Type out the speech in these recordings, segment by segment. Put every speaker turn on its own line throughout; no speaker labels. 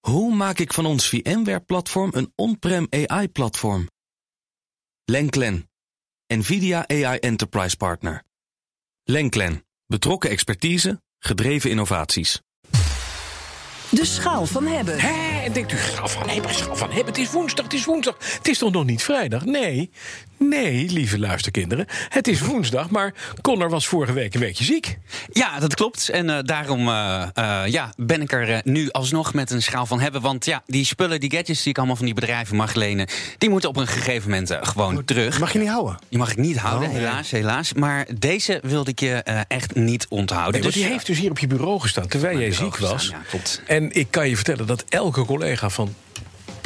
Hoe maak ik van ons VMware-platform een on-prem AI-platform? Lenklen, NVIDIA AI Enterprise Partner. Lenklen, betrokken expertise, gedreven innovaties.
De schaal van hebben.
Hé, en denkt u, schaal van hebben, schaal van hebben. Het is woensdag, het is woensdag. Het is toch nog niet vrijdag? Nee, nee, lieve luisterkinderen. Het is woensdag, maar Connor was vorige week een beetje ziek.
Ja, dat klopt. En eh, daarom eh, eh, ja, ben ik er eh, nu alsnog met een schaal van hebben. Want ja, die spullen, die gadgets die ik allemaal van die bedrijven mag lenen... die moeten op een gegeven moment eh, gewoon terug.
Mag je niet houden?
Die mag ik niet houden,
Oh,
helaas, helaas. Maar deze wilde ik je eh, echt niet onthouden.
Nee, want die
Dus-
heeft dus hier op je bureau gestaan terwijl jij
mijn bureau
ziek was.
gestaan, ja, klopt.
en ik kan je vertellen dat elke collega van.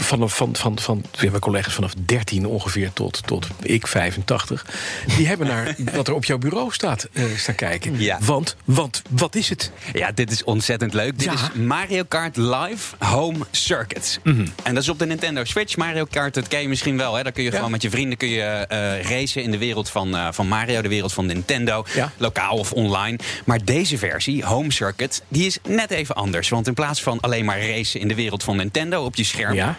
Van, van, van, van, we hebben collega's vanaf 13 ongeveer tot, tot ik 85. Die hebben naar wat er op jouw bureau staat eh, staan kijken.
Ja.
Want, want wat is het?
Ja, dit is ontzettend leuk. Dit
Ja.
is Mario Kart Live Home Circuit.
Mhm.
En dat is op de Nintendo Switch. Mario Kart, dat ken je misschien wel. Hè? Daar kun je
Ja.
gewoon met je vrienden kun je, eh, racen in de wereld van, eh, van Mario, de wereld van Nintendo.
Ja.
Lokaal of online. Maar deze versie, Home Circuit, die is net even anders. Want in plaats van alleen maar racen in de wereld van Nintendo op je scherm...
Ja.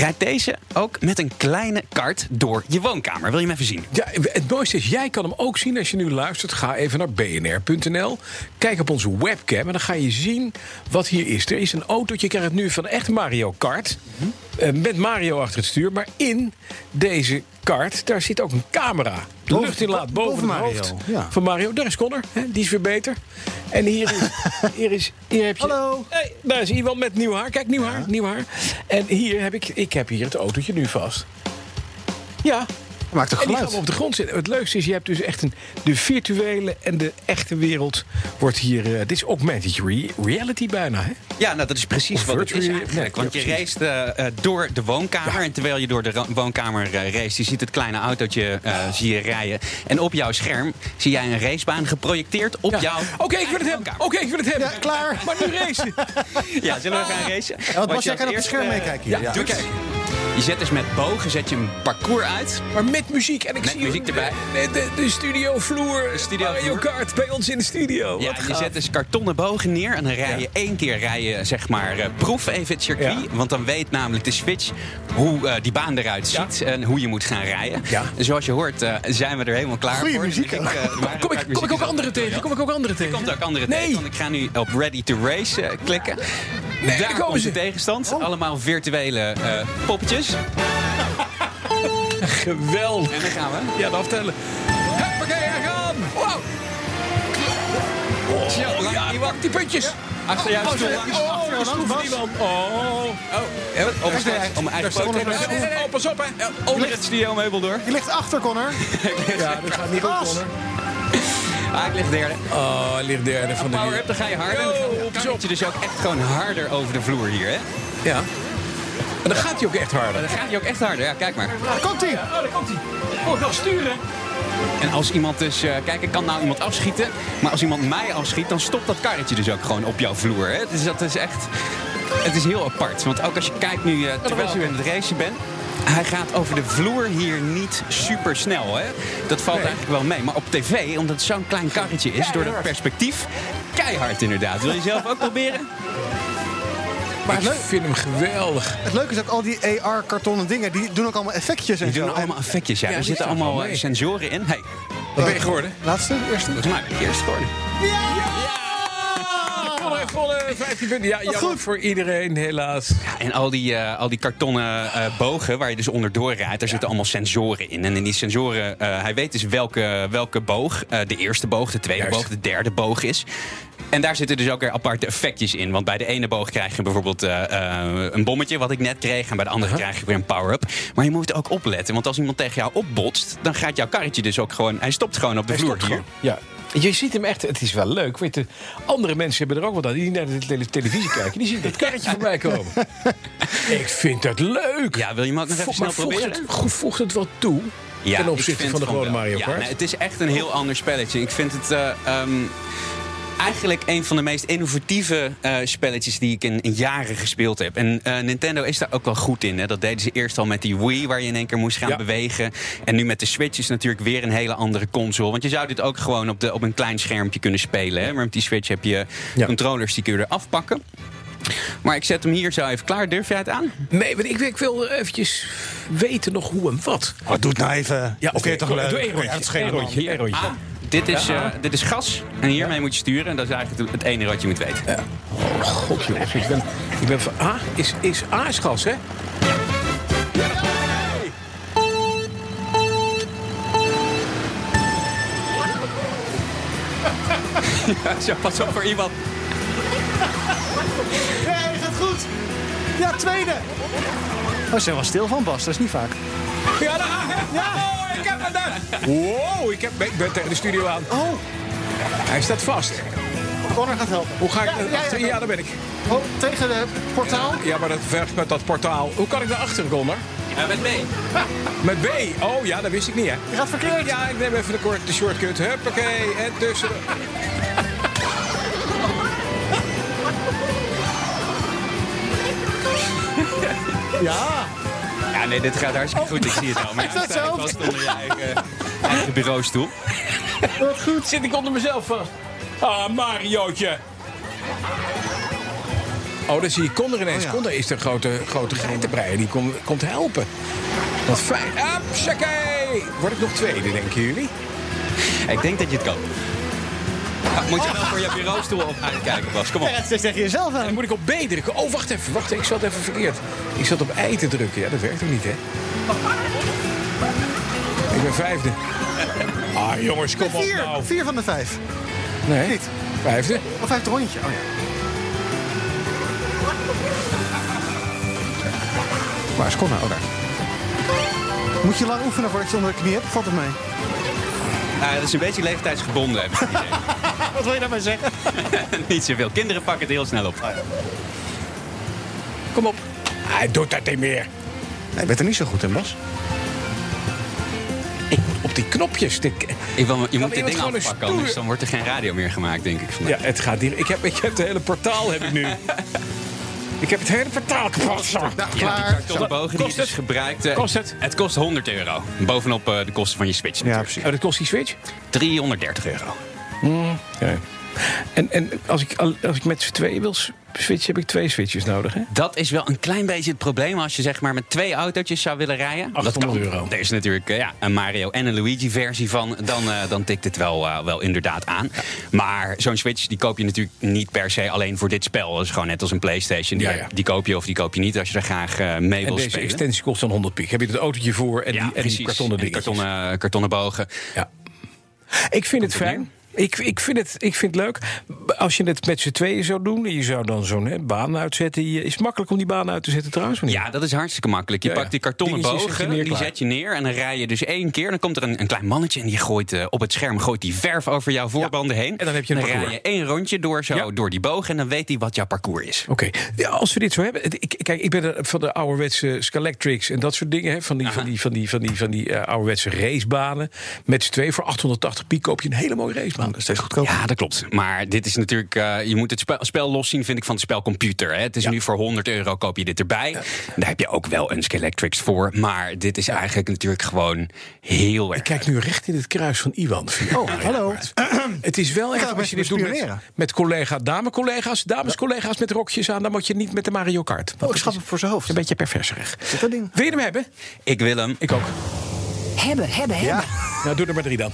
rijdt deze ook met een kleine kart door je woonkamer. Wil je hem even zien?
Ja, het mooiste is, jij kan hem ook zien als je nu luistert. Ga even naar bnr.nl. Kijk op onze webcam en dan ga je zien wat hier is. Er is een autootje, je krijgt het nu van echt Mario Kart.
Mhm.
Eh, Met Mario achter het stuur. Maar in deze kart, daar zit ook een camera. De
Boven-
luchtinlaat
bo-
boven,
boven
het
Mario,
hoofd
ja.
van Mario. Daar is Connor, hè, die is weer beter. En hier, is, hier, is, hier heb je...
Hallo.
Hey, daar is iemand met nieuw haar. Kijk, nieuw haar, nieuw haar. En hier heb ik, ik heb hier het autootje nu vast. Ja,
Maakt toch
en die gaan
geluid?
we op de grond zitten. Het leukste is, je hebt dus echt een, de virtuele en de echte wereld wordt hier... eh, dit is augmented re- reality bijna, hè?
Ja, nou, dat is precies
Of
wat het is
virtual-
eigenlijk.
nee,
Want je
ja, precies.
race eh, eh, door de woonkamer. En terwijl je door de ra- woonkamer eh, race, je ziet het kleine autootje eh, zie je rijden. En op jouw scherm zie jij een racebaan geprojecteerd op
Ja.
jouw...
Oké, ik wil het hebben. Oké, ik wil het hebben.
Ja, klaar.
Maar nu racen.
Ja, zullen we
Ah.
gaan racen?
Ja, want Bas,
je
jij kan
als
op het
eerste-
scherm
eh,
meekijken hier.
ja,
Ja,
doe
dus-
kijk.
Je zet dus met bogen zet je een parcours uit.
Maar met muziek. En ik
Met
zie
muziek
de-
erbij.
De, de, de studiovloer.
studio
Mario
vloer.
Kart bij ons in de studio.
Ja,
Wat
en je
gaaf.
zet dus kartonnen bogen neer en dan rij je één keer rij je, zeg maar, eh, proef even het circuit.
Ja.
Want dan weet namelijk de Switch hoe eh, die baan eruit
Ja.
ziet en hoe je moet gaan rijden.
Ja.
En zoals je hoort eh, zijn we er helemaal klaar
Goeie
voor. Dus
muziek
ik denk,
ook.
eh, maar-
Kom ik, kom ik ook anderen tegen? Kom ik ook anderen tegen?
Komt ook andere
nee.
tegen, want ik ga nu op Ready to Race eh, klikken. Daar
daar komen
komt
ze. Oh.
de tegenstand. Allemaal virtuele eh, poppetjes.
Geweldig.
En daar gaan we.
Ja, dan aftellen. Huppakee, hij gaan. Wow.
Zo, lang
Oh, Ja,
die
pak
wacht.
die puntjes.
Achter jou
Oh,
stoel.
sorry. Oh,
Achter
de
jou
stoel van iemand. Oh.
Oh, ja, wat? om
Daar
mijn
is
om mijn eigen
hij.
poot.
Daar is hij.
Nee, nee, nee. Oh, pas op, hè. Onder het studiomeubel door.
Je ligt achter, Connor.
Ja, dat gaat niet goed,
Bas.
Connor.
Ah, ik lig derde.
Oh, hij ligt derde van de
Power up,
wereld.
dan ga je harder.
Yo,
Dan
pas
gaat
op.
je dus ook echt gewoon harder over de vloer hier, hè?
Ja. En dan gaat hij ook echt harder.
Dan gaat je ook echt harder. Ja, kijk maar.
Daar komt hij.
Oh, daar komt hij. Oh, nog sturen.
En als iemand dus... eh, kijk, ik kan nou iemand afschieten. Maar als iemand mij afschiet, dan stopt dat karretje dus ook gewoon op jouw vloer. Hè? Dus dat is echt... Het is heel apart. Want ook als je kijkt nu, eh, terwijl je aan het racen bent... Hij gaat over de vloer hier niet super snel. Hè? Dat valt eigenlijk wel mee. Maar op tv, omdat het zo'n klein karretje is, door dat perspectief... Keihard inderdaad. Wil je zelf ook proberen?
Maar ik vind hem geweldig.
Het leuke is ook al die AR-kartonnen dingen, die doen ook allemaal effectjes en
Die doen
zo.
allemaal effectjes, ja.
Ja,
er
die
zitten
staan
allemaal
wel mee.
eh, sensoren in. Hey,
Wat ben je geworden?
En- Laatste, eerste.
volgens mij ben ik eerst geworden.
Volle, volle 15 punten. Ja, jammer
goed.
voor iedereen, helaas.
Ja, en al die, eh, al die kartonnen eh, bogen waar je dus onderdoor rijdt, daar zitten allemaal sensoren in. En in die sensoren, eh, hij weet dus welke, welke boog, eh, de eerste boog, de tweede
Juist.
boog, de derde boog is. En daar zitten dus ook weer aparte effectjes in. Want bij de ene boog krijg je bijvoorbeeld eh, eh, een bommetje, wat ik net kreeg. En bij de andere krijg je weer een power-up. Maar je moet ook opletten. Want als iemand tegen jou opbotst, dan gaat jouw karretje dus ook gewoon... Hij stopt gewoon op de vloer hier.
Ja. Je ziet hem echt, het is wel leuk. Weet je, andere mensen hebben er ook wat aan. Die naar de tele- televisie kijken, die zien dat karretje voorbij komen. Ik vind dat leuk.
Ja, wil je hem ook nog even
Vo-
snel
maar voegt
proberen?
het, go- voegt het wel toe ten
ik
opzichte
vind
van de
van
gewone
wel.
Mario
Ja,
Kart?
nee, het is echt een heel ander spelletje. Ik vind het eh, ehm, eigenlijk een van de meest innovatieve eh, spelletjes die ik in, in jaren gespeeld heb. En eh, Nintendo is daar ook wel goed in. Hè? Dat deden ze eerst al met die Wii, waar je in één keer moest gaan
Ja.
bewegen. En nu met de Switch is natuurlijk weer een hele andere console. Want je zou dit ook gewoon op, de, op een klein schermpje kunnen spelen. Hè? Maar met die Switch heb je
Ja.
controllers die kun je eraf pakken. Maar ik zet hem hier zo even klaar. Durf jij het aan?
Nee, want ik, ik wil eventjes weten nog hoe en wat.
Wat doet nou even?
Ja,
Of vind je het toch leuk?
Doe één
Ja, het
rondje.
schelen,
Eén
man.
rondje, één rondje.
Ah, dit is, eh, dit is gas. En hiermee moet je sturen. En dat is eigenlijk het enige wat je moet weten. Ah,
God, jongens. Ik ben, ik ben van... Ah, is, is aasgas, hè?
Zo, pas op voor iemand.
Nee, gaat goed. Ja, tweede. Oh, ze was stil van Bas, dat is niet vaak.
Ja, oh, ik heb het Wow, ik, heb, ik ben tegen de studio aan.
Oh,
Hij staat vast.
Connor gaat helpen.
Hoe ga ik...
Ja, ja,
erachter?
ja,
ja, Nou?
ja.
daar ben ik.
Oh, tegen het portaal.
Ja, maar dat vergt met dat portaal. Hoe kan ik daarachter komen?
Ja, met mee.
Met B. Oh ja, dat wist ik niet, hè?
Je gaat verkeerd.
Ja, ik neem even de, kort, de shortcut. Huppakee. En tussen.
Ja.
Ja, nee, dit gaat hartstikke goed. Ik zie het al. Maar
Is dat
ja, sta je
zo?
vast onder je eigen, eh, eigen bureaustoel.
Zit ik onder mezelf vast? Ah, Mariootje. Oh, dan zie je Conder ineens. Conder is de grote, grote geitenbreier. Die komt komt helpen. Wat fijn. Hupsakee. Word ik nog tweede, denken jullie?
Ik denk dat je het kan. Ja, moet je wel voor je bureaustoel op uitkijken, Bas. Kom op.
Het is tegen jezelf
Dan
aan.
moet ik op B drukken. Oh, wacht even. Wacht, ik zat even verkeerd. Ik zat op I te drukken. Ja, dat werkt ook niet, hè? Ik ben vijfde. Ah, jongens, kom op
Vier.
nou.
Vier van de vijf.
Nee,
Niet.
Vijfde.
Of vijfde rondje. Oh ja.
Waar is Connor? Oh, daar.
Moet je lang oefenen voordat je onder de knie hebt? Valt het mee?
Nou, dat is een beetje leeftijdsgebonden, heb ik het idee.
Wat wil je
nou
daarmee zeggen?
Niet zoveel. Kinderen pakken het heel snel
Ah,
op.
Kom op. Hij doet dat niet meer.
Nee, ik ben er niet zo goed in, Bas.
Ik moet op die knopjes. tik-
Ik wil, je moet
iemand
dit ding
gewoon een
afpakken,
stoer-
anders dan wordt er geen radio meer gemaakt, denk ik.
Ja, het gaat hier. Ik heb, ik heb het hele portaal heb ik nu. ik heb het hele portaal kapot. zo.
Nou,
Ja,
klaar.
die kartonnen bogen die
Kost
je dus
het?
gebruikt. eh,
Kost het?
kost 100 euro. Bovenop eh, de kosten van je Switch.
Ja,
natuurlijk.
precies.
Oh, dat kost die switch? Mm.
330 euro.
Ja. En, en als, ik, al- als ik met z'n tweeën wil s- switchen, heb ik twee switches nodig, hè?
Dat is wel een klein beetje het probleem als je zeg maar met twee autootjes zou willen rijden.
800
dat kan.
euro.
Er is natuurlijk eh, ja, een Mario en een Luigi versie van. Dan, eh, dan tikt het wel, eh, wel inderdaad aan. Maar zo'n Switch die koop je natuurlijk niet per se alleen voor dit spel. Dat is gewoon net als een Playstation. Die,
Ja, ja.
die koop je of die koop je niet als je er graag eh, mee
En
wil
deze
spelen.
extensie kost dan 100 piek. Heb je het autootje voor en,
Ja,
die, en
precies.
die kartonnen
En die
dingetjes.
kartonnen, eh, kartonnen bogen.
Ja. Ik vind het fijn. Ik, ik, vind het, ik vind het leuk. Als je het met z'n tweeën zou doen, je zou dan zo'n hè, baan uitzetten. Je- Is het makkelijk om die baan uit te zetten trouwens? meneer?
Ja, dat is hartstikke makkelijk. Je
Ja, dus ja.
pakt die kartonnen
Dingetjes zet je
bogen,
neer,
die
klaar.
zet je neer en dan rij je dus één keer. Dan komt er een, een klein mannetje en die gooit eh, op het scherm gooit die verf over jouw voorbanden heen.
En dan heb je een
rij
parcours.
je één rondje door, zo,
Ja.
door die bogen en dan weet hij wat jouw parcours is.
Oké, ja, als we dit zo hebben. het- Ik, kijk, ik ben er van de ouderwetse Scalectrics en dat soort dingen. Hè, van die, van die, van die, van die, van die eh, ouderwetse racebanen. Met z'n tweeën voor 880 piek koop je een hele mooie racebaan. Oh, Dat is steeds goedkoop.
Ja, dat klopt. Maar dit is natuurlijk, eh, je moet het spel, spel los zien, vind ik, van het spelcomputer. Hè. Het is nu voor 100 euro koop je dit erbij. Daar heb je ook wel een Scalectrix voor. Maar dit is eigenlijk natuurlijk gewoon heel erg.
Ik kijk nu recht in het kruis van Iwan. Oh,
hallo.
Het is wel echt,
ook
als je dit
mensen
doet met,
bespioneren.
met collega, dame-collega's, dames-collega's met rokjes aan, dan moet je niet met de Mario Kart.
Oh, ik schat hem voor zijn hoofd.
Een beetje perverserig.
Zit dat ding?
Wil je hem hebben?
Ik wil hem.
Ik ook.
Hebben, hebben, hebben.
Ja.
Nou, doe er maar drie dan.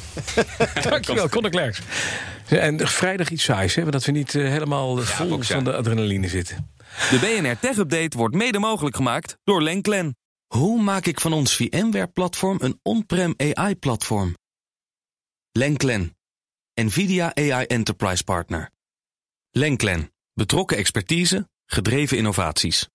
Dankjewel, Conor Klerks. En vrijdag iets saais, hè? want dat we niet eh, helemaal vol
ook saai.
van de adrenaline zitten.
De BNR Tech Update wordt mede mogelijk gemaakt door Lenklen. Hoe maak ik van ons VMware-platform een on-prem AI-platform? Lenklen, NVIDIA AI Enterprise Partner. Lenklen, betrokken expertise, gedreven innovaties.